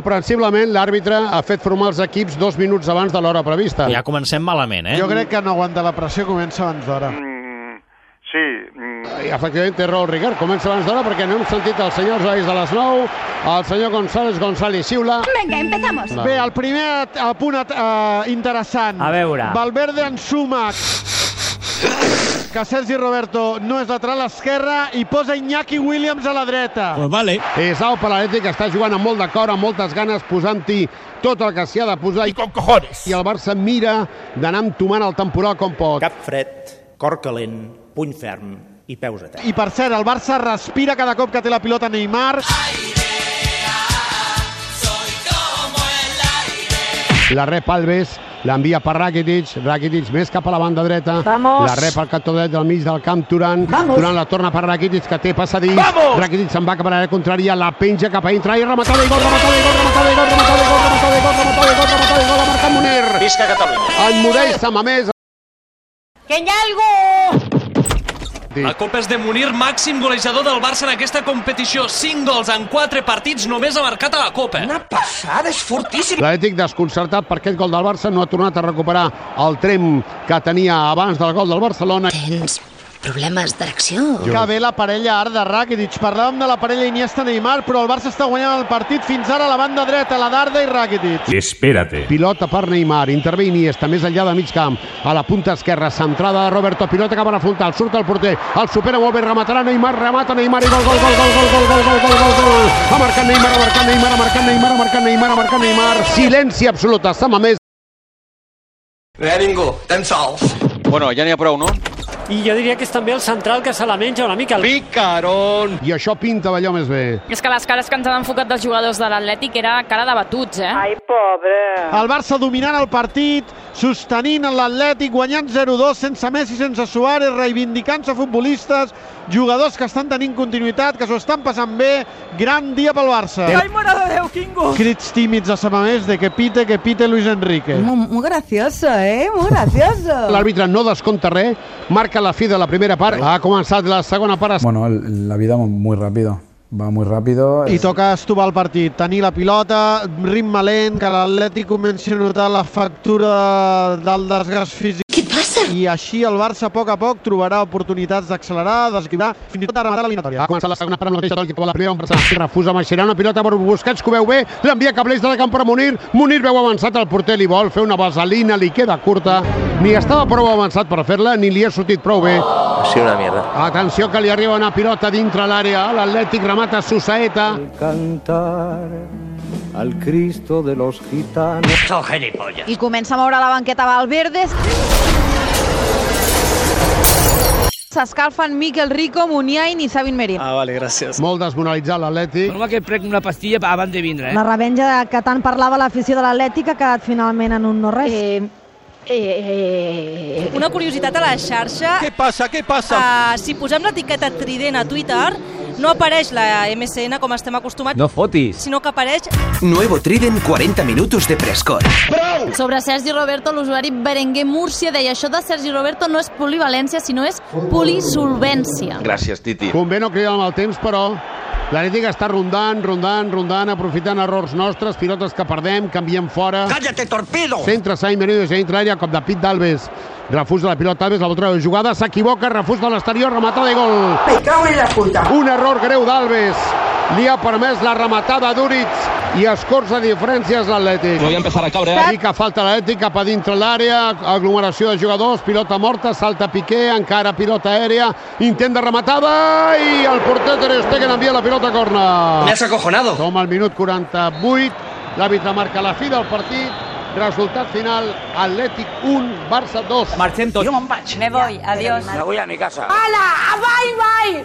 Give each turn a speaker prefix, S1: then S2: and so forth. S1: Incomprensiblement, l'àrbitre ha fet formar els equips dos minuts abans de l'hora prevista.
S2: Ja comencem malament, eh?
S3: Jo crec que no aguanta la pressió, comença abans d'hora.
S4: Mm, sí, mm,
S1: I, Efectivament, té raó el Ricard. Comença abans d'hora perquè no hem sentit els senyors Ois de les 9, el senyor González González Siula...
S5: Venga, empezamos.
S1: No.
S3: Bé, el primer at- el punt at- eh, interessant.
S6: A veure.
S3: Valverde en Sumac. Que Sergi Roberto no és lateral esquerra i posa Iñaki Williams a la dreta.
S2: Pues vale.
S1: Isao per l'Atlètic està jugant amb molt de cor, amb moltes ganes, posant-hi tot el que s'hi ha de posar. I con cojones! I el Barça mira d'anar entomant el temporal com pot.
S7: Cap fred, cor calent, puny ferm i peus a terra.
S3: I per cert, el Barça respira cada cop que té la pilota Neymar.
S1: La rep Alves, l'envia per Rakitic, Rakitic més cap a la banda dreta, Vamos. la rep al cantó dret del mig del camp Turan, Vamos. Turan la torna per Rakitic que té passadís, Vamos. Rakitic se'n va cap a l'àrea contrària, la penja cap a dintre i rematada i gol, rematada i gol, rematada i gol, rematada i gol, rematada i gol, rematada i gol, rematada i gol, ha marcat Moner. Visca Catalunya. En Morell s'ha mamès.
S5: ¡Que hay algo!
S8: La Copa és de Munir, màxim golejador del Barça en aquesta competició. 5 gols en 4 partits només ha marcat a la Copa.
S1: L'Atlètic desconcertat per aquest gol del Barça no ha tornat a recuperar el trem que tenia abans del gol del Barcelona.
S9: Tens problemes d'erecció?
S3: Que bé la parella ara de Rakitic. Parlàvem de la parella Iniesta-Neymar, però el Barça està guanyant el partit fins ara a la banda dreta, la Darda i Rakitic.
S10: Espérate.
S1: Pilota per Neymar, intervé Iniesta, més enllà de mig camp, a la punta esquerra, centrada de Roberto, pilota cap a la frontal, surt el porter, el supera molt bé, rematarà Neymar, remata Neymar, i gol, gol, gol, gol, gol, gol, gol, gol, gol, gol, gol, ha marcat Neymar, ha marcat Neymar, ha marcat Neymar, ha marcat Neymar, ha marcat Neymar, silenci absolut, està mamés.
S11: Bueno, ja n'hi ha prou, no?
S6: I jo diria que és també el central que se la menja una mica. El...
S1: I això pinta d'allò més bé.
S5: És que les cares que ens han enfocat dels jugadors de l'Atlètic era cara de batuts, eh? Ai.
S3: El Barça dominant el partit, sostenint l'Atlètic, guanyant 0-2 sense Messi, sense Suárez, reivindicant-se futbolistes, jugadors que estan tenint continuïtat, que s'ho estan passant bé. Gran dia pel Barça. Ai, mare de Déu, quin gol! Crits tímids a Samamés de que pite, que pite Luis Enrique.
S9: Muy gracioso, eh? Muy gracioso.
S1: L'àrbitre no descompta res, marca la fi de la primera part, ha començat la segona part,
S10: Bueno, el- la vida muy rápido. Va muy rápido.
S3: I toca estovar el partit, tenir la pilota, ritme lent, que l'Atlètic comenci a notar la factura del desgast físic
S9: Què passa?
S3: i així el Barça a poc a poc trobarà oportunitats d'accelerar, d'esquivar, fins i tot de rematar
S1: Ha
S3: l'eliminatòria.
S1: començat la segona part amb la mateixa toca que la primera, on Barcelona refusa Mascherano, pilota per Busquets, que ho veu bé, l'envia cap a l'eix de la camp per Munir, Munir veu avançat al porter, li vol fer una vaselina, li queda curta, ni estava prou avançat per fer-la, ni li ha sortit prou bé.
S7: Sí, una mierda.
S1: Atenció que li arriba una pilota dintre l'àrea, l'Atlètic remata Susaeta,
S5: I comença a moure la banqueta Valverde. S'escalfen Miquel Rico, Muniain i Sabin Merin.
S7: Ah, vale, gràcies.
S1: molt desmonalitzat l'Atlètic,
S6: Home, que prec una pastilla abans de vindre,
S5: La revenja de que tant parlava l'afició de l'Atlètic ha quedat finalment en un no-res. Eh, eh, eh, Una curiositat a la xarxa. Què passa, què passa? Uh, si posem l'etiqueta Trident a Twitter, no apareix la MSN com estem acostumats,
S6: No fotis.
S5: sinó que apareix...
S7: Nuevo Trident 40 minutos de frescor.
S9: Sobre Sergi Roberto, l'usuari Berenguer Múrcia deia això de Sergi Roberto no és polivalència, sinó és polisolvència.
S11: Gràcies, Titi.
S1: convé no cridar amb el temps, però l'Atlètic està rondant, rondant, rondant, aprofitant errors nostres, pilotes que perdem, canviem fora...
S7: Cállate, torpedo!
S1: Centra Sainz Benítez, entra àrea, cop de pit d'Alves. Refusa la pilota Alves, la volta de jugada, s'equivoca, refusa l'exterior, rematada i gol.
S9: Me cago en la puta.
S1: Un error greu d'Alves. Li ha permès la rematada d'Uritz i escorça diferències l'Atlètic.
S11: Voy a empezar a caure,
S1: I que falta l'Atlètic cap a dintre l'àrea, aglomeració de jugadors, pilota morta, salta Piqué, encara pilota aèria, intent de rematada i el porter Ter Stegen envia la pilota a corna.
S7: has acojonado.
S1: Som al minut 48, l'àrbitre marca la fi del partit, resultat final, Atlètic 1, Barça 2.
S6: Marxem tots.
S5: Me voy, adiós.
S7: voy a mi casa.
S5: Hola, bye, bye!